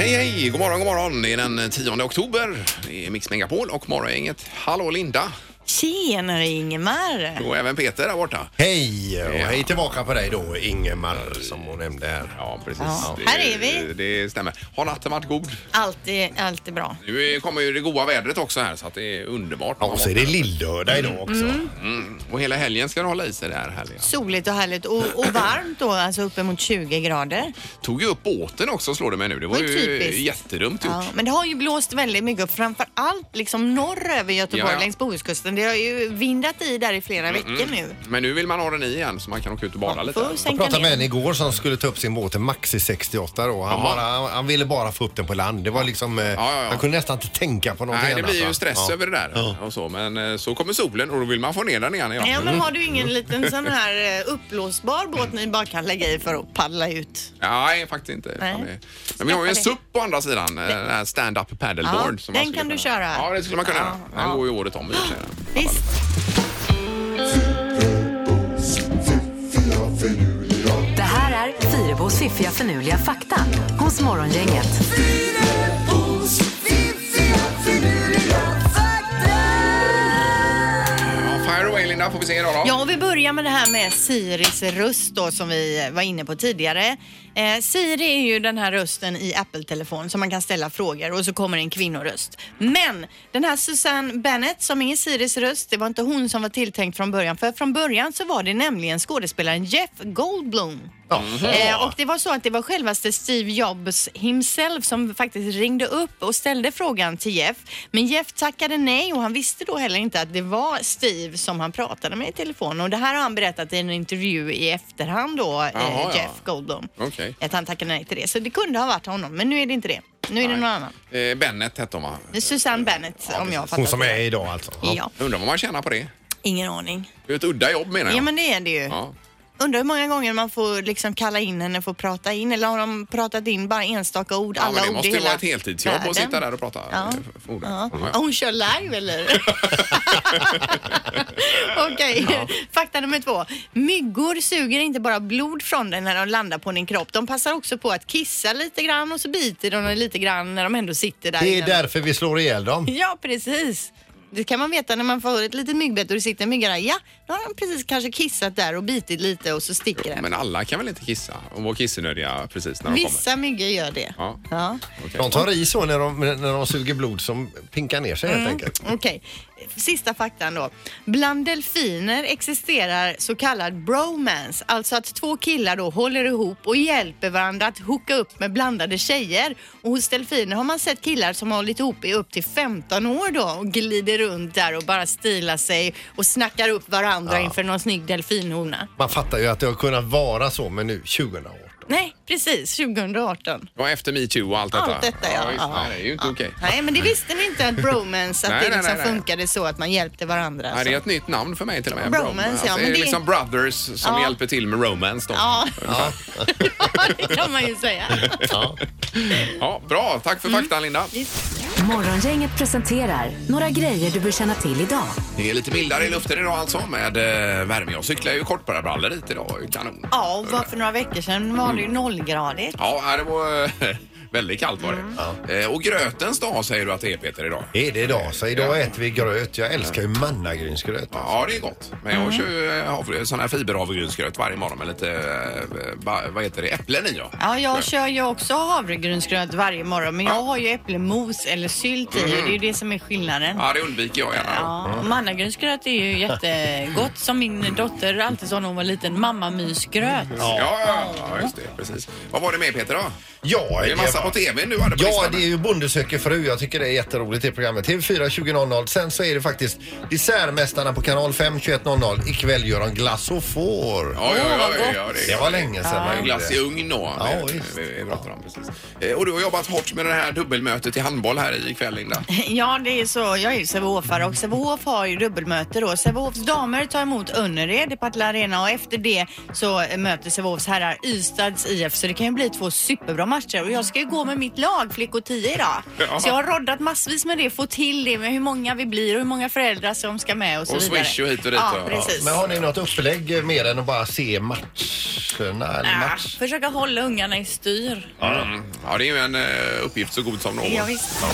Eh, God morgon, god morgon. Det är den 10 oktober. Det är Mix Megapol och Morgongänget. Hallå Linda! Tjenare Ingemar! Och även Peter där borta. Hej och Ja. hej tillbaka på dig då Ingemar som hon nämnde här. Ja, precis. Ja. Det, Här är vi. Det stämmer. Har natten varit god? Alltid, alltid bra. Nu kommer ju det goda vädret också här så att det är underbart. Ja, och så är det lillördag idag också. Mm. Och hela helgen ska du hålla i sig det här härliga. Soligt och härligt och, och varmt då, alltså uppemot 20 grader. Tog ju upp båten också slår det mig nu. Det var Det var ju typiskt. jättedumt gjort. Ja, men det har ju blåst väldigt mycket och framför allt liksom norr över Göteborg Ja, ja. längs Bohuskusten. Det har ju vindat i där i flera veckor nu. Men nu vill man ha den i igen så man kan åka ut och bada lite. Får Jag sänka pratade med ner. en igår som skulle ta upp sin båt en Maxi 68 då. Han, Jaha. bara, han, han ville bara få upp den på land. Det var liksom, eh, ja, ja. han kunde nästan inte tänka på någonting Nej, det annat, blir ju va? stress Ja. över det där. Och så. Men eh, så kommer solen och då vill man få ner den igen. Ja. Ja, men har du ingen liten sån här eh, uppblåsbar båt ni bara kan lägga i för att paddla ut? Nej, faktiskt inte. Nej. Utan det- Men vi har ju en Skaffa det. SUP på andra sidan, eh, den här stand-up paddleboard. Ja, som man skulle den kan du kunna- köra. Ja, det skulle man kunna Ja, göra. Den ja. går ju året om i och för sig, den. Visst? Det här är Fyrabos fiffiga förnuliga fakta hos Morgongänget. Ja, fire away Linda, får vi se idag då. Ja, och vi börjar med det här med Siris röst då som vi var inne på tidigare. Eh, Siri är ju den här rösten i Apple-telefon som man kan ställa frågor och så kommer en kvinnoröst. Men den här Susanne Bennett som är Siris röst, det var inte hon som var tilltänkt från början för från början så var det nämligen skådespelaren Jeff Goldblum. Mhm. Eh, och det var så att det var självaste Steve Jobs himself som faktiskt ringde upp och ställde frågan till Jeff. Men Jeff tackade nej och han visste då heller inte att det var Steve som han pratade med i telefon. Och det här har han berättat i en intervju i efterhand då, Jaha, eh, ja. Jeff Goldblum. Okej. Att han tackade nej till det. Så det kunde ha varit honom, men nu är det inte det. Nu är det Nej. någon annan. Eh, Bennet hette hon va? Det är Susanne Bennett om jag har fattat Hon som det är rätt. idag alltså. Ja, Undrar vad man tjänar på det. ingen aning. Det är ett udda jobb menar Ja. jag. men det är det ju. Ja. Undrar hur många gånger man får liksom kalla in henne för att prata in eller har de pratat in bara enstaka ord? Ja, alla men det ord måste i ju hela vara ett heltidsjobb världen. att sitta där och prata. Ja. eh, f- ord. Ja. Ja, Hon kör live eller? Okej, fakta nummer två. Myggor suger inte bara blod från dig när de landar på din kropp. De passar också på att kissa lite grann och så biter de dig lite grann när de ändå sitter där. Det är innan- därför vi slår ihjäl dem. Ja, precis. Det kan man veta när man får ett litet myggbett och det sitter en mygga där. Ja, då har de precis kanske kissat där och bitit lite och så sticker den. Men alla kan väl inte kissa och vara kissnödiga precis när de kommer? Vissa myggor gör det. Ja. Ja. Okej. De tar i så när de, när de suger blod som pinkar ner sig Mm. helt enkelt. Okej, sista faktan då. Bland delfiner existerar så kallad bromance, alltså att två killar då håller ihop och hjälper varandra att hooka upp med blandade tjejer. Och hos delfiner har man sett killar som har hållit ihop i upp till 15 år då och glider runt där och bara stilar sig och snackar upp varandra inför någon snygg delfinhona. Man fattar ju att det har kunnat vara så men nu 2018. Nej, precis, 2018. Ja, efter metoo och allt detta. Allt detta, ja. visst. Ja. Nej, det är ju inte okej. Nej, men det visste ni inte att bromance, att Nej, det nej, liksom nej, nej. funkade så att man hjälpte varandra. Nej, det så. är ett nytt namn för mig till och med. Bromance, ja, det men är det- liksom brothers som Ja. hjälper till med romance då. Ja. Ja. ja, det kan man ju säga. Ja. bra, tack Mm. för faktan Linda. Morgongänget presenterar några grejer du bör känna till idag. Det är lite mildare i luften idag alltså med eh, värme. Jag cyklar ju kortbrallor hit idag, det är ju kanon. Ja, och var för några veckor sedan var det ju nollgradigt. Ja, här det var eh, väldigt kallt var det. Mm. Eh, Och grötens dag säger du att det är Peter idag. Är det idag? Så idag äter vi gröt. Jag älskar ju mannagrynsgröt. Ja, det är gott. Men Mm. jag kör ju, eh, havre- sån här fiberhavregrynsgröt varje morgon med lite, eh, ba- vad heter det, äpplen i. Ja. Ja, jag kör ju också havregrynsgröt varje morgon men jag har ju äppelmos eller sylt i och det är ju det som är skillnaden. ja, det undviker jag gärna. Ja, och mannagrynsgröt är ju jättegott som min dotter alltid sa när hon var liten. Mammamysgröt. Ja, ja, ja, just det. Precis. Vad var det med Peter då? Ja, Det är massa Eva. på TV nu hade på Ja, listan. det är ju Bonde söker fru. Jag tycker det är jätteroligt det programmet. TV4 20.00. Sen så är det faktiskt Dessertmästarna på kanal 5 21.00. Ikväll gör de glass och får. Ja, ja, ja, ja, ja, Det var länge sedan man Ja, gjorde Glass i det. ugn då. Ja, vi, visst. vi, vi pratar om, precis. Eh, Och du har jobbat hårt med det här dubbelmötet i handboll här ikväll Linda. Ja, det är så. Jag är ju Sävehofare och Sävehof har ju dubbelmöte då. Sävehofs damer tar emot Önnered i Partille Arena och efter det så möter Sävehofs herrar Ystads IF. Så det kan ju bli två superbra matcher och jag ska ju gå med mitt lag Flickor 10 idag. Ja. Så jag har roddat massvis med det, få till det med hur många vi blir och hur många föräldrar som ska med och så Och vidare. Swish och hit och dit, Ja, ja. precis. Men har ni något upplägg mer än att bara se matcherna? Eller Ah, match? försöka hålla ungarna i styr. Mm. Ja, det är ju en eh, uppgift så god som någon. Ja, visst.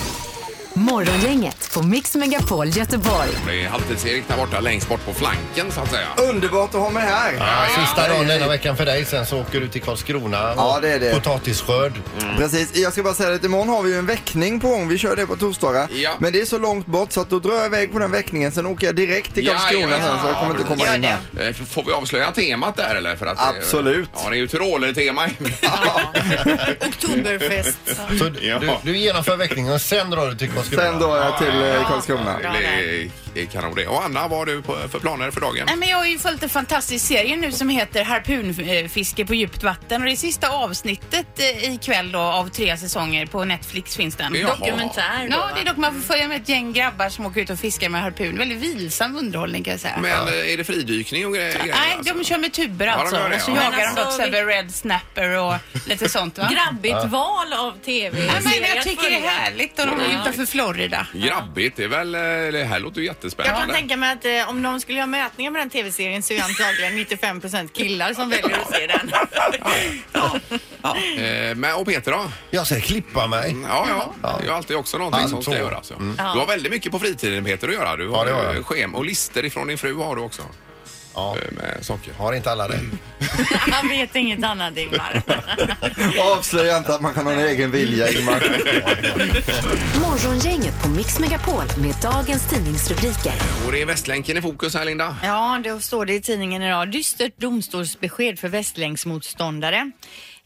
Morgongänget på Mix Megapol Göteborg. Det är halvtids-Erik där borta, längst bort på flanken så att säga. Underbart att ha mig här. Ja, Sista dagen denna veckan för dig, sen så åker du till Karlskrona och Ja, det är det. potatisskörd. Mm. Precis, jag ska bara säga att imorgon har vi ju en väckning på gång. Vi kör det på torsdagar. Ja. Men det är så långt bort så att då drar jag iväg på den väckningen. Sen åker jag direkt till Ja, Karlskrona ja, ja. sen så jag kommer inte komma Gör in det. här. Eh, f- Får vi avslöja temat där eller? För att, eh, Absolut. Ja, det är ju tyroler-tema. Oktoberfest. Så du, Ja. du, du genomför väckningen och sen drar du till Karlskrona. Sen drar jag till eh, Karlskrona. Det blir- det är kanon det. Och Anna, vad har du på, för planer för dagen? Nej, men jag har ju följt en fantastisk serie nu som heter Harpunfiske på djupt vatten och det är sista avsnittet eh, ikväll då av tre säsonger på Netflix finns den. Jaha. Ja, det är dock man får följa med ett gäng grabbar som åker ut och fiskar med harpun. Väldigt vilsam underhållning kan jag säga. Men eh, är det fridykning och gre- grejer? Nej, alltså? de kör med tuber de alltså. gör det, och så ja. jagar Men de alltså, också över red snapper och lite sånt va? Grabbigt val av tv Nej, men jag tycker det är härligt och de är utanför Florida. Grabbigt, det är väl... eh, Det här låter ju Jag jättespännande. kan tänka mig att eh, om någon skulle göra mätningar med den tv-serien så är antagligen 95 killar som väljer att se den. Eh, men, och Peter då? Jag säger klippa mig. Ja, ja. Det är ju alltid också någonting Han som ska tog. göras. Ja. Du har väldigt mycket på fritiden Peter att göra. Du Mm. Ja, har det har jag. eh, schem och lister ifrån din fru har du också. Ja. Eh, Med saker. Har inte alla det? Han vet inget annat Ingmar. Avslöja inte att man kan ha en egen vilja Ingmar. Morgongänget på Mix Megapol med dagens tidningsrubriker. Och det är Västlänken i fokus här Linda. Ja, då står det i tidningen idag. Dystert domstolsbesked för Västlänksmotståndare.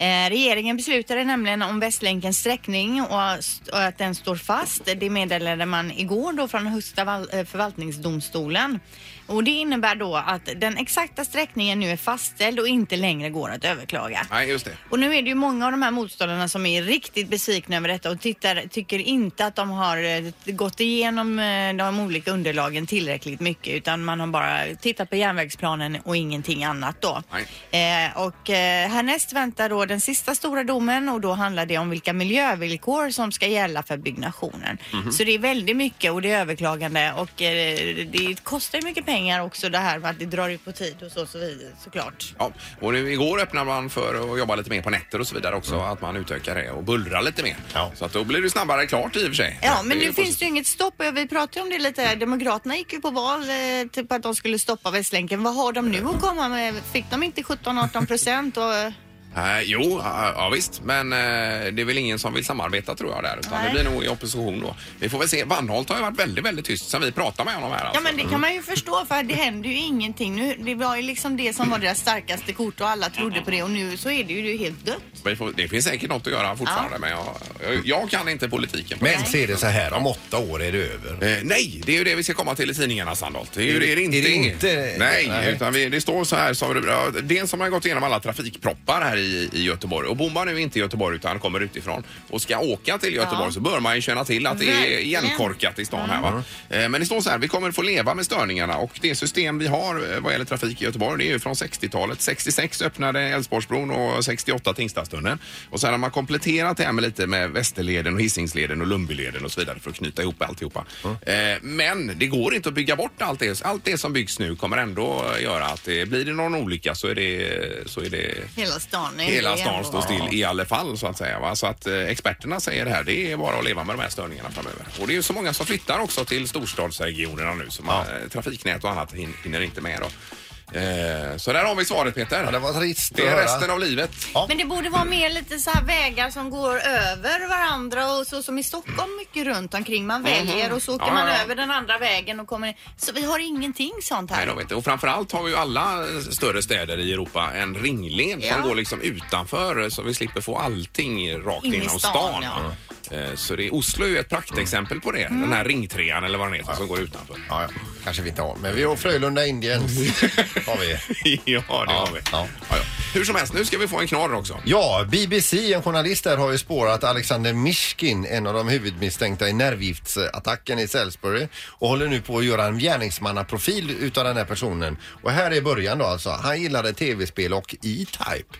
Eh, regeringen beslutade nämligen om Västlänkens sträckning och st- och att den står fast. Det meddelade man igår då från Högsta val- eh, förvaltningsdomstolen. Och det innebär då att den exakta sträckningen nu är fastställd och inte längre går att överklaga. Nej, just det. Och nu är det ju många av de här motståndarna som är riktigt besvikna över detta och tittar, tycker inte att de har eh, gått igenom eh, de olika underlagen tillräckligt mycket utan man har bara tittat på järnvägsplanen och ingenting annat då. Eh, och eh, härnäst väntar då den sista stora domen och då handlar det om vilka miljövillkor som ska gälla för byggnationen. Så det är väldigt mycket och det är överklagande och eh, det kostar ju mycket pengar också det här med att det drar ut på tid och så, så vidare såklart. Ja, och nu, igår öppnade man för att jobba lite mer på nätter och så vidare också. Att man utökar det och bullrar lite mer. Mm. Ja. Så att då blir det snabbare klart i och för sig. Ja, men Det är nu ju finns det ju inget stopp. Vi pratade ju om det lite. här. Demokraterna gick ju på val eh, typ att de skulle stoppa Västlänken. Vad har de nu att komma med? Fick de inte 17-18 procent? Och... Nej, jo, ja, ja visst. Men eh, det är väl ingen som vill samarbeta tror jag där. Utan Nej. det blir nog i opposition då. Vi får väl se. Vanholt har ju varit väldigt, väldigt tyst sen vi pratade med honom här. Alltså. Ja, men det kan man ju förstå för det händer ju ingenting. Nu, det var ju liksom det som var deras starkaste kort och alla trodde på det och nu så är det ju helt dött. Vi får, det finns säkert något att göra fortfarande. Men jag, jag, jag kan inte politiken. på det. Men se det så här, om åtta år är det över. Eh, nej, det är ju det vi ska komma till i tidningarna Sandholt. Det är ju det, är det inte. Är det inte? Nej, Nej. utan vi, det står så här som rubrik. ja, Dels har man gått igenom alla trafikproppar här i, i Göteborg och bor man nu inte i Göteborg utan kommer utifrån och ska åka till Göteborg så bör man ju känna till att det är Verkligen. igenkorkat i stan här va. Eh, Men det står så här, vi kommer få leva med störningarna och det system vi har eh, vad gäller trafik i Göteborg det är ju från 60-talet. 66 öppnade Älvsborgsbron och 68 Tingstadstunneln. Och sen har man kompletterat det här med lite med Västerleden och Hisingsleden och Lundbyleden och så vidare för att knyta ihop alltihopa. Eh, Men det går inte att bygga bort allt det. Allt det som byggs nu kommer ändå göra att det, blir det någon olycka så är det, så är det Hela stan är Hela det stan ändå. står still i alla fall så att säga. Va? Så att eh, experterna säger det här, det är bara att leva med de här störningarna framöver. Och det är ju så många som flyttar också till storstadsregionerna nu så man, eh, trafiknät och annat hin- hinner inte med då. Eh, så där har vi svaret Peter. Ja, det var trist Det är att höra. resten av livet. Men det borde vara mer lite så här vägar som går över varandra och så som i Stockholm mycket runt omkring. Man väljer och så åker Mm. Ja, man ja, ja. över den andra vägen och kommer Så vi har ingenting sånt Nej, här. de inte. Och framförallt har ju alla eh, större städer i Europa en ringled Ja. som går liksom utanför så vi slipper få allting rakt In i inom stan. stan, Mm. va? Eh, Så det är, Oslo är ju ett praktexempel på det. Den här ringtrean eller vad den heter som går utanför. Ja, ja, kanske vi inte har, men vi har Frölunda Indians. har vi. ja, Mm. det har vi. ja. Ja, ja. Hur som helst, nu ska vi få en knorr också. Ja, BBC, en journalist där, har ju spårat Alexander Mishkin, en av de huvudmisstänkta i nervgiftsattacken i Salisbury och håller nu på att göra en gärningsmannaprofil utav den här personen. Och här är början då alltså. Han gillade tv-spel och E-Type.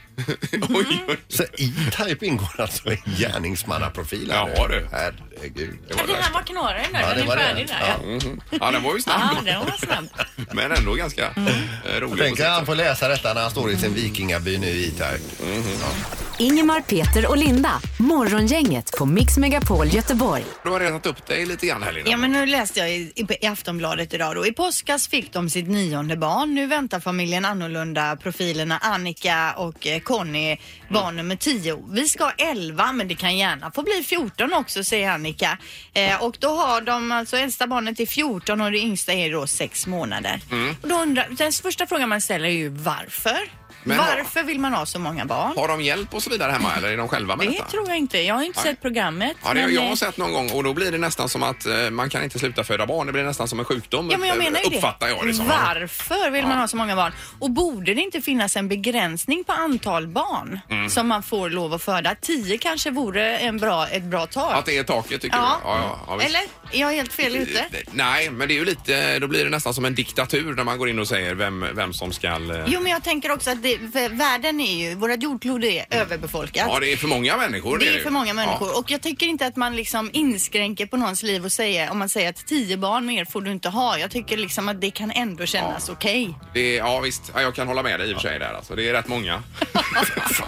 Oj, oj. Så E-Type ingår alltså i gärningsmannaprofilen. Jaha, du. Herregud. Det var Den här värst. var knorren nu. Ja, det den var är det. färdig där. Ja. Mhm. Ja, den var ju snabb. Ah, den var snabb. Men ändå ganska Mm. eh, rolig. på Tänk sitt att han sätt. får läsa detta när han står i sin vikingaby nu i E-Type. Mm-hmm. Ingemar, Peter och Linda. Morgongänget på Mix Megapol Göteborg. Du har retat upp dig lite grann här Linda. Ja, men nu läste jag i, i Aftonbladet idag då. I påskas fick de sitt nionde barn. Nu väntar familjen annorlunda profilerna Annika och eh, Conny barn nummer 10. Vi ska ha 11 men det kan gärna få bli 14 också säger Annika. Eh, och då har de alltså äldsta barnet är 14 och det yngsta är då 6 månader. Mm. Och då undrar, den första frågan man ställer är ju varför? Men har- varför vill man ha så många barn? Har de hjälp och så vidare hemma eller är de själva med Det detta? tror jag inte. Jag har inte Nej. sett programmet. Ja, det har men, jag eh, sett någon gång och då blir det nästan som att eh, man kan inte sluta föda barn. Det blir nästan som en sjukdom. Ja, men jag eh, menar ju Uppfattar det. jag det som. Varför vill Ja. man ha så många barn? Och borde det inte finnas en begränsning på antal barn Mm. som man får lov att föda? Tio kanske vore en bra, ett bra tag. Att det är taket tycker Ja. du? Ja, ja, ja, visst. Eller? Är jag helt fel ute? Nej, men det är ju lite, då blir det nästan som en diktatur när man går in och säger vem, vem som eh, ska... Jo, men jag tänker också att det, v- världen är ju, vårat jordklot är överbefolkat. Mm. Ja, det är för många människor. Det är ju. för många människor Ja. och jag tycker inte att man liksom inskränker på någons liv och säger om man säger att tio barn mer får du inte ha. Jag tycker liksom att det kan ändå kännas okej. Det är, ja, visst. Ja, jag kan hålla med dig i och för sig där alltså. Det är rätt många.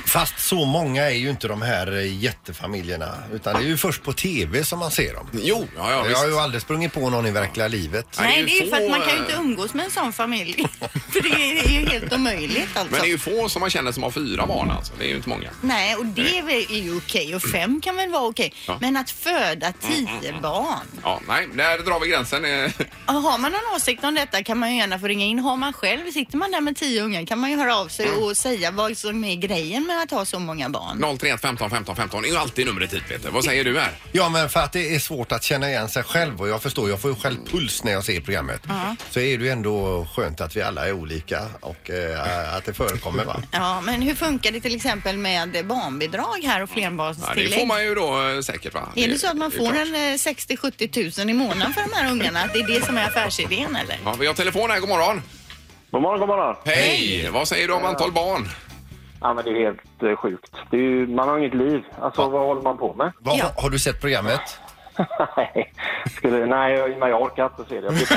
Fast så många är ju inte de här eh, jättefamiljerna utan det är ju först på tv som man ser dem. Jo, ja, ja, Jag har ju visst. aldrig sprungit på någon i verkliga livet. Nej, Nej, det det är ju är ju för att få, man kan ju eh, inte umgås med en sån familj. för det är det är ju helt omöjligt alltså. Men det är ju få som man känner som har fyra barn alltså. Det är ju inte många. Nej, och det är väl- är ju okej och fem kan väl vara okej. Ja. Men att föda tio barn. Ja, nej, där drar vi gränsen. eh. Och Har man någon åsikt om detta kan man ju gärna få ringa in. Har man själv, sitter man där med tio ungar kan man ju höra av sig Mm. och säga vad som är grejen med att ha så många barn. 031 15 15 15 är ju alltid numret hit Peter. Vad säger du här? Ja, men för att det är svårt att känna igen sig själv och jag förstår, jag får ju själv puls när jag ser programmet. Så är det ju ändå skönt att vi alla är olika och eh, att det förekommer va? Ja, men hur funkar det till exempel med barnbidrag här och Ja, det får flerbarnstillägg? man ju då eh, säkert va? är det så att man är får klart. en eh, 60-70 000 i månaden för de här ungarna? Att det är det som är affärsidén eller? Ja, vi har telefon här, god morgon. God morgon, god morgon. Hej! Vad säger du om antal barn? Ja, men det är helt eh, sjukt. Det är ju, man har inget liv. Alltså, vad håller man på med? Vad- Har du sett programmet? nej, skulle, nej, jag, men jag orkar inte se det. Jag blir-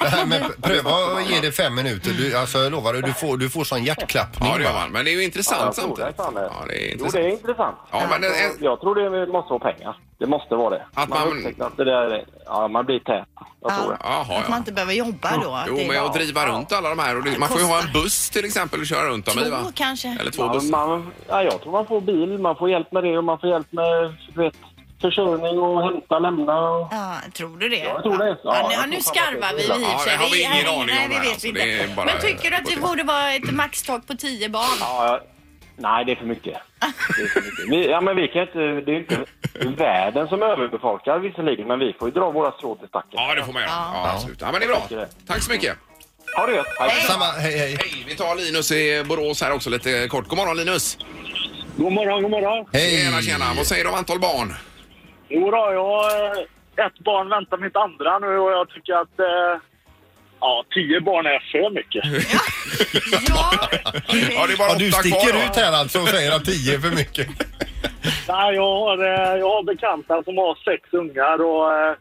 Det här med, pröva att ge det fem minuter. Du, alltså, jag lovar, dig, du får, du får sån hjärtklappning. Ja, det gör va? man. Men det är ju Ja, jag intressant tror samtidigt. det, fan, det. Ja, det är Jo, det intressant. är intressant. Ja, men eh, det är- Alltså, Jag tror det måste vara pengar. Det måste vara det. Att man man- har upptäckt att det där, ja, man blir tät. Jag tror det. Jaha, Att man ja. inte behöver jobba då. att Jo, det är men bra. att driva runt alla de här. Och det, man får ju ha en buss till exempel och köra runt dem i Två va? kanske. Eller två Ja, bussar. man, ja, jag tror man får bil, man får hjälp med det och man får hjälp med du vet, försörjning och hämta, lämna. Och... Ja, tror du det? Jag tror det. Ja, jag nu- ja, tror nu fan att skarvar vi i det är och illa. för Ja, det sig. har vi Det är- ingen aning Nej, om vi här, vet alltså. Det är inte. bara- Men tycker du att det borde vara ett maxtak på tio barn? Ja, jag- nej, det är för mycket. Det är för mycket. Vi, ja, men vi kan inte, det är ju inte världen som överbefolkar visserligen, men vi får ju dra våra strå till stacken. Ja, det får man göra. Ja, absolut. Ja, men det är bra. Tack så mycket. Ha det gött! Hej. Samma, hej, hej. Hej, vi tar Linus i Borås här också lite kort. God morgon Linus! God morgon, god morgon! hej. Tjena, tjena. Vad säger du om antal barn? Jo då, jag, eh, ett barn väntar mitt andra nu och jag tycker att eh, ja, tio barn är för mycket. Ja, Ja, det är bara Ja, du åtta sticker kvar, va? ut här alltså och säger att tio är för mycket. Nej, jag har, eh, jag har bekanta som har sex ungar och eh,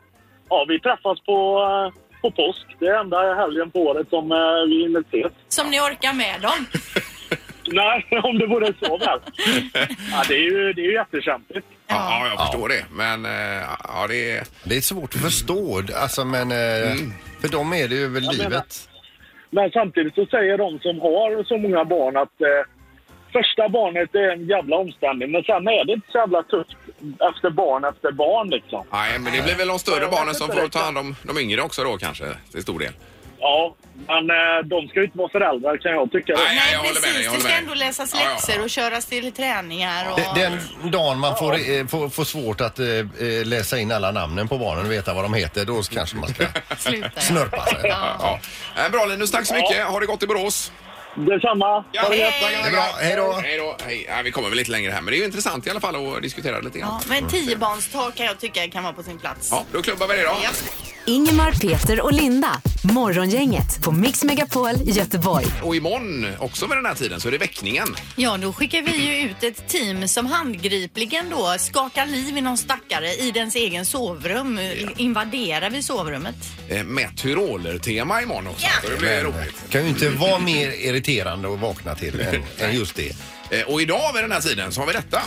ja, vi träffas på, eh, på påsk. Det är enda helgen på året som eh, vi hinner ses. Som ni orkar med dem? Nej, om det vore så väl. Ja, det är ju, det är ju jättekämpigt. Ja, jag förstår det. Men eh, ja, det är... Det är svårt att förstå, alltså, men eh, för dem är det ju väl livet. Men samtidigt så säger de som har så många barn att eh, första barnet är en jävla omställning. Men sen är det inte så jävla tufft efter barn efter barn liksom. Nej, men det blir väl de större barnen som får ta hand om de yngre också då kanske till stor del. Ja, men eh, de ska ju inte vara föräldrar kan jag tycka. Nej, Nej, jag håller med dig, jag precis. Det håller ska med dig. ändå läsas Ja, ja. läxor och köras till träningar. Och... De- Den dagen man får, eh, får, får svårt att eh, eh, läsa in alla namnen på barnen och veta vad de heter, då kanske man ska Sluta. snörpa sig. Ja. Eh, Bra Linus, tack så mycket. Har det gott i Borås. Detsamma. Ja, Ha det gött. hej. Det är bra. Hej då. Hej då. Hej. Ja, vi kommer väl lite längre här, men det är ju intressant i alla fall att diskutera lite grann. Ja, men tiobarnstak kan jag tycka kan vara på sin plats. Ja, då klubbar vi det då. Ja. Ingemar, Peter och Linda. Morgongänget på Mix Megapol Göteborg. Och imorgon, också vid den här tiden, så är det väckningen. Ja, då skickar vi ju ut ett team som handgripligen då skakar liv i någon stackare i dens egen sovrum. Invaderar vi sovrummet? Eh, Med tyroler-tema imorgon också. Ja. Så det blir roligt. kan ju inte vara mer irriterande att vakna till än, än just det. Eh, Och idag vid den här tiden så har vi detta.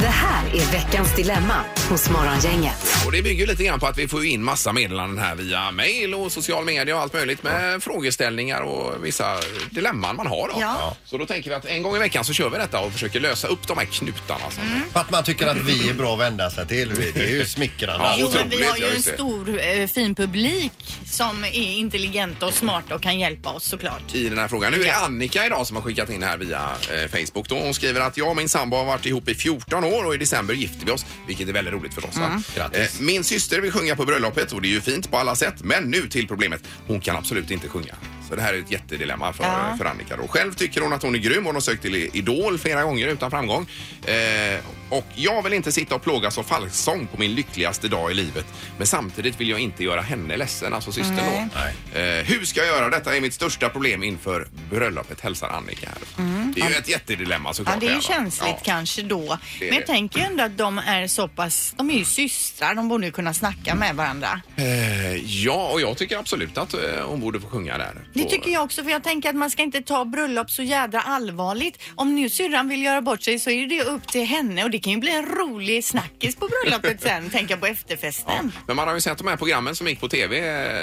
Det här är veckans dilemma hos Morgongänget. Och det bygger ju lite grann på att vi får ju in massa meddelanden här via mail och social media och allt möjligt med frågeställningar och vissa dilemman man har då. Ja. Så då tänker vi att en gång i veckan så kör vi detta och försöker lösa upp de här knutarna. som- Att man tycker att vi är bra att vända sig till, det är ju smickrande. Ja, Jo, men vi otroligt, har ju ja, en just det. stor eh, fin publik som är intelligenta och smarta och kan hjälpa oss såklart. i den här frågan. Nu är det Annika idag som har skickat in här via eh, Facebook. Då. Hon skriver att jag och min sambo har varit ihop i 14 år och i december gifte vi oss, vilket är väldigt roligt för oss. va? Grattis. Eh, min syster vill sjunga på bröllopet och det är ju fint på alla sätt. Men nu till problemet. Hon kan absolut inte sjunga. Så det här är ett jättedilemma för, Ja. för Annika. Då. Själv tycker hon att hon är grym. Hon har sökt till Idol flera gånger utan framgång. Eh, och jag vill inte sitta och plågas av falsång på min lyckligaste dag i livet. Men samtidigt vill jag inte göra henne ledsen, alltså systern då. Eh, hur ska jag göra? Detta är mitt största problem inför bröllopet, hälsar Annika. Här. Det är ju ett jättedilemma Mm. Ja, såklart. det är ju här, va? känsligt Ja. kanske då. Det är Men jag det. tänker ju ändå att de är så pass, de är ju systrar, de borde ju kunna snacka med varandra. Eh, ja, och jag tycker absolut att eh, hon borde få sjunga där. Det På- tycker jag också, för jag tänker att man ska inte ta bröllop så jädra allvarligt. Om nu syrran vill göra bort sig så är det upp till henne och det kan ju bli en rolig snackis på bröllopet sen, tänka på efterfesten. Men man har ju sett de här programmen som gick på tv,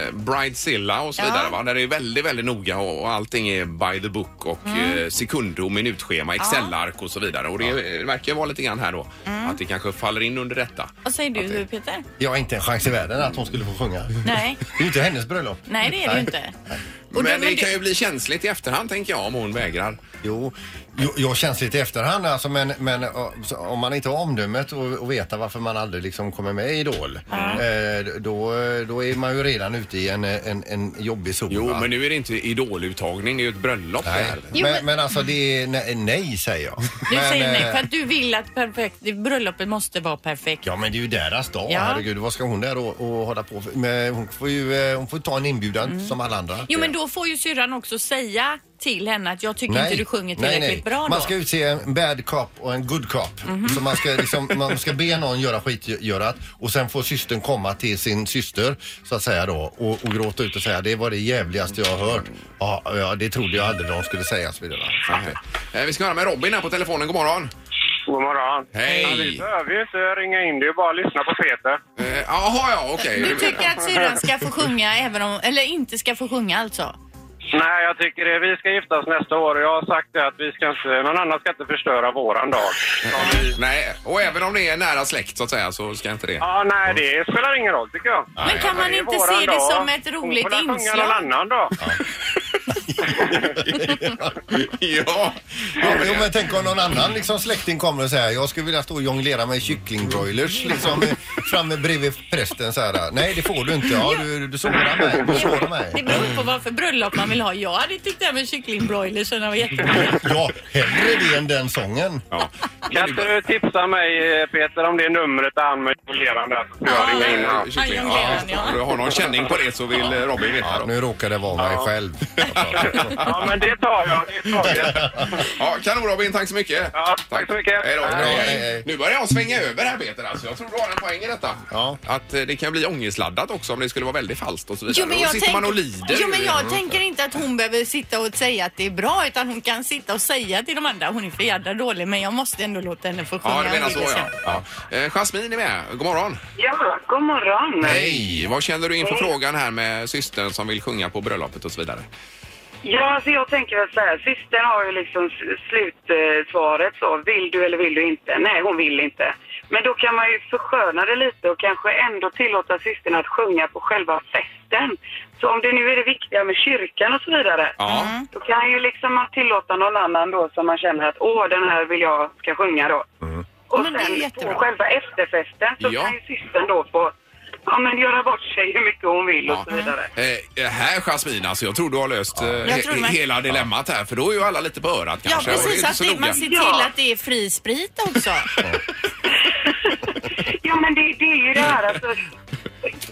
eh, Bridezilla och så Ja. vidare, va? där det är väldigt, väldigt noga och, och allting är by the book och eh, sekunder och minutschema, Excel-ark och så vidare. Och det eh, verkar ju vara lite grann här då, att det kanske faller in under detta. Vad säger du Peter? Jag har inte en chans i världen att hon skulle få sjunga. Nej, Det är ju inte hennes bröllop. nej det är det ju inte. Och men då- det men kan du- ju bli känsligt i efterhand, tänker jag, om hon vägrar. Jo, jo, jag känns lite i efterhand alltså, men, men ja, så om man inte har omdömet och, och veta varför man aldrig liksom kommer med i Idol, eh, då, då är man ju redan ute i en, en, en jobbig zon. Jo, va? men nu är det inte idoluttagning, det är ju ett bröllop. det Nej. här. men, men alltså det är nej, nej säger jag. Du men, säger nej eh, för att du vill att perfekt, bröllopet måste vara perfekt. Ja men det är ju deras dag, Ja. herregud vad ska hon där och, och hålla på för? Men hon får ju eh, hon får ta en inbjudan som alla andra. Mm. Jo men då får ju syrran också säga till henne att jag tycker Nej, inte du sjunger nej, tillräckligt nej. bra då. Mhm. Man ska utse en bad cop och en good cop. Så man ska, liksom, man ska be någon göra skitgörat och sen får systern komma till sin syster så att säga då och, och gråta ut och säga det var det jävligaste jag har hört. Ja, ja det trodde jag aldrig de skulle säga och så vidare. Så att, eh, Eh, Vi ska höra med Robin här på telefonen. God morgon! God morgon. Ja, vi Hej! behöver ju inte ringa in, det är bara att lyssna på Peter. Eh, Jaha, ja, okej. Du tycker att syrran ska få sjunga även om, eller inte ska få sjunga alltså? Nej, jag tycker det. Vi ska giftas nästa år och jag har sagt det att vi ska inte, någon annan ska inte förstöra våran dag. Nej, och även om det är nära släkt så att säga så ska inte det... Ja, nej, det spelar ingen roll tycker jag. Men kan man Det är inte våran se det dag. som ett roligt Hon får väl sjunga någon inslag? annan dag. Ja, Ja, men, jo, men tänk om någon annan liksom, släkting kommer och säger jag skulle vilja stå och jonglera med kycklingbroilers liksom, eh, framme bredvid prästen så här. Nej det får du inte. Ja, du, du sårar mig. Du sårar Det mig. beror på vad för bröllop man vill ha. Jag hade tyckt det här med kycklingbroiler så den var jättebra. Ja, hellre det än den sången. Ja. Kan inte du tipsa mig eh, Peter om det numret där han med isoleraren där så ska jag ringa in honom. Kyckling, Ja, ja. jonglera, ja. Om du har någon känning på det så vill eh, Robin veta. Ja, då. nu råkar det vara mig själv. Ja, men det tar jag. Det tar jag. Ja, kanon Robin, tack så mycket. Ja, tack så mycket. Hej då. Hej. Hej, hej. Hej, hej. Nu börjar jag svänga över här Peter. Alltså, jag tror du har en poäng i detta. Ja. Att eh, det kan bli ångestladdat också om det skulle vara väldigt falskt och så vidare. Jo, men Då jag sitter tänker- man och lider. Jo, men jag tänker inte att hon behöver sitta och säga att det är bra utan hon kan sitta och säga till de andra hon är för jädra dålig men jag måste ändå låta henne få sjunga. Ja, du menar lite så ja. ja. sen." Eh, Jasmine är med. God morgon. Ja, god morgon. Hej! Vad känner du inför frågan här med systern som vill sjunga på bröllopet och så vidare? Ja, alltså jag tänker väl så här. Systern har ju liksom s- slutsvaret så. Vill du eller vill du inte? Nej, hon vill inte. Men då kan man ju försköna det lite och kanske ändå tillåta systern att sjunga på själva festen. Så om det nu är det viktiga med kyrkan och så vidare. Ja. Då kan ju liksom man tillåta någon annan då som man känner att åh, den här vill jag ska sjunga då. Och Men det är sen jättebra. på själva efterfesten så Mm. Ja. kan ju systern då få ja, men göra bort sig hur mycket hon vill och så vidare. Eh, här Jasmin, alltså jag tror du har löst eh, he- tror det med. hela dilemmat här för då är ju alla lite på örat Ja, kanske. och precis. inte Att så det, noga. man ser till Ja. att det är fri sprit också. Ja, men det, det är ju det här alltså.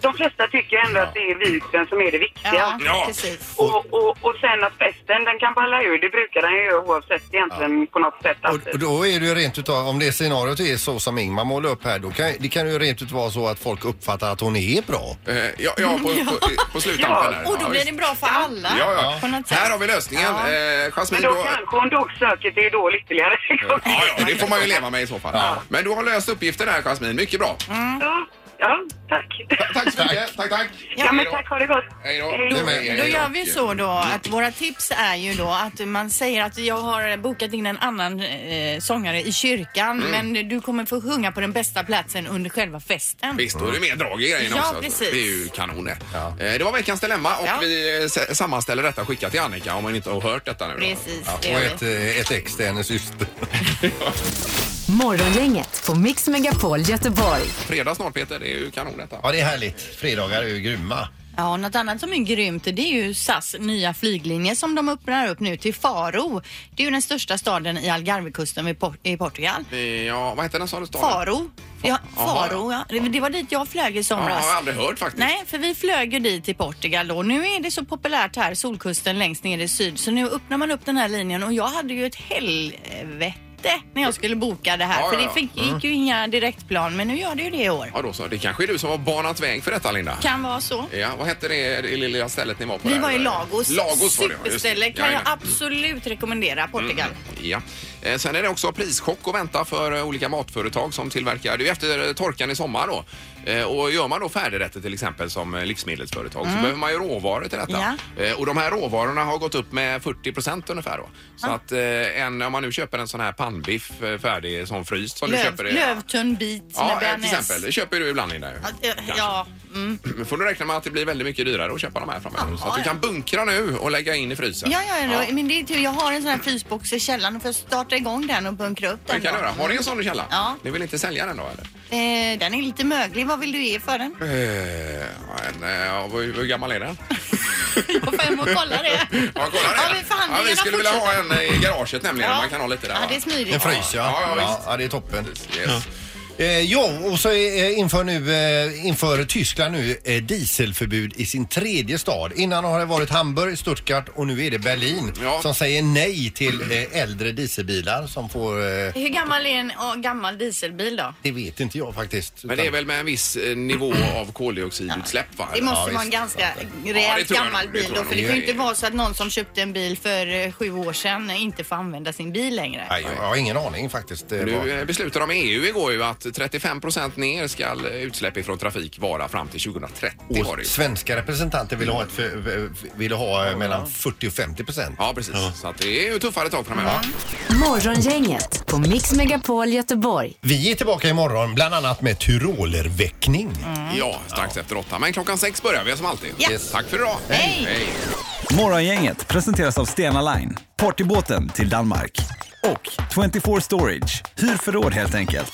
De flesta tycker ändå att det är vigseln som är det viktiga. Ja, precis. Och, och, och sen att festen, den kan balla ur. Det brukar den ju göra oavsett egentligen på något sätt. Att, Och då är det ju rent utav, om det scenariot är så som Ingmar målar upp här, då kan, det kan ju rent utav vara så att folk uppfattar att hon är bra. Eh, ja, ja, på, på, på sluttampen där. Och då Ja, blir visst. det bra för alla. Ja, På ja. något sätt. Här har vi lösningen. Ja. Eh, Jasmin, men då då, kanske hon dock söker till Idol ytterligare. ja, ja, det får man ju leva med i så fall. Men du har löst uppgiften här Jasmin, mycket bra. Mm. Ja, ja, tack. Tack så mycket. Tack, tack. Ja, men Hej då. tack. Ha det gott. Hej då. Hej. Du med. Hej Då då. gör vi så då att våra tips är ju då att man säger att jag har bokat in en annan eh, sångare i kyrkan men du kommer få sjunga på den bästa platsen under själva festen. Visst, då är det mer drag i grejen Ja, också. alltså. precis. Det är ju kanon det. Ja. Eh, Det var veckans dilemma och Ja. vi eh, s- sammanställer detta och skickar till Annika om hon inte har hört detta nu. då. Precis, Ja, det och gör vi. ett, eh, ett ex till hennes syster. Morgongänget på Mix Megapol Göteborg. Fredag snart Peter, det är ju kanon detta. Ja, det är härligt. Fredagar är ju grymma. Ja, något annat som är grymt det är ju SAS nya flyglinje som de öppnar upp nu till Faro. Det är ju den största staden i Algarvekusten vid Por- i Portugal. Eh, Ja, vad heter den sa du? staden? Faro. Ja, Jaha, Faro, ja. Det- Det var dit jag flög i Ja, jag somras. har aldrig hört faktiskt. Nej, för vi flög ju dit till Portugal då. Nu är det så populärt här, solkusten längst ner i syd, så nu öppnar man upp den här linjen och jag hade ju ett helvete när jag skulle boka det här. Ja, för ja, ja. det Mm. fick, gick ju inga direktplan, men nu gör det ju det i år. Ja, då så. Det kanske är du som har banat väg för detta Linda? Kan vara så. Ja, vad hette det, det lilla stället ni var på? Vi där? var i Lagos. Lagos var det, ja, Mm. just det. Superställe. Kan jag Jajamän. absolut rekommendera Portugal. Ja. Eh, Sen är det också prischock att vänta för eh, olika matföretag som tillverkar, det är ju efter eh, torkan i sommar då. Eh, Och gör man då färdigrätter till exempel som eh, livsmedelsföretag Mm. så behöver man ju råvaror till detta. Eh, Och de här råvarorna har gått upp med 40 procent ungefär då. Så att eh, en, om man nu köper en sån här pannbiff eh, färdig som fryst som du Löv, köper i- Lövtunnbit Ja, eh, med till exempel. Det köper ju du ibland Linda. ju. bearnaise. Ja, Men får du räkna med att det blir väldigt mycket dyrare att köpa de här framöver. så att du ja. kan bunkra nu och lägga in i frysen. ja, ja, ja. men det är tur. Jag har en sån här frysbox i källaren. Då får jag starta igång den och bunkra upp Det den. kan du då. göra. Har ni en sån i källaren? Ja. Ni vill inte sälja den då eller? Eh, den är lite möglig. Vad vill du ge för den? Eh, en, eh, hur, hur gammal är den? Jag får hem och kolla det. Ja, kolla det. Ja, men förhandlingarna ja, vi skulle vilja ha en eh, i garaget nämligen. Ja. Man kan ha lite där. Ja, va? det är smidigt. En frys, ja. Ja, ja, ja, visst. det är toppen. Yes. Eh, jo, och så eh, inför, nu, eh, inför Tyskland nu eh, dieselförbud i sin tredje stad. Innan har det varit Hamburg, Stuttgart och nu är det Berlin Ja. som säger nej till eh, äldre dieselbilar som får... Eh, Hur gammal är en åh, gammal dieselbil då? det vet inte jag faktiskt. Men det är väl med en viss eh, nivå av koldioxidutsläpp va? Det måste Ja, vara en visst. ganska Ja, det rejält tror jag gammal nog. Det bil tror då. jag För nog. det kan ju inte vara så att någon som köpte en bil för eh, sju år sedan inte får använda sin bil längre. Nej, jag har ingen aning faktiskt. Eh, vad- Nu eh, beslutade de i EU igår ju att 35 procent ner ska utsläpp ifrån trafik vara fram till 2030. har det och ju. svenska representanter ville ha, ett för, ville ha eh, mellan 40 och 50 procent. Ja, precis. Så att det är ju tuffare tag framöver. Morgongänget på Mix Megapol Göteborg. Vi är tillbaka imorgon bland annat med tyrolerväckning. Mm. Ja, strax efter åtta. Men klockan sex börjar vi som alltid. Yes. Tack för idag. Hej. Hej. Morgongänget presenteras av Stena Line, partybåten till Danmark. Och 24 Storage, hyr förråd helt enkelt.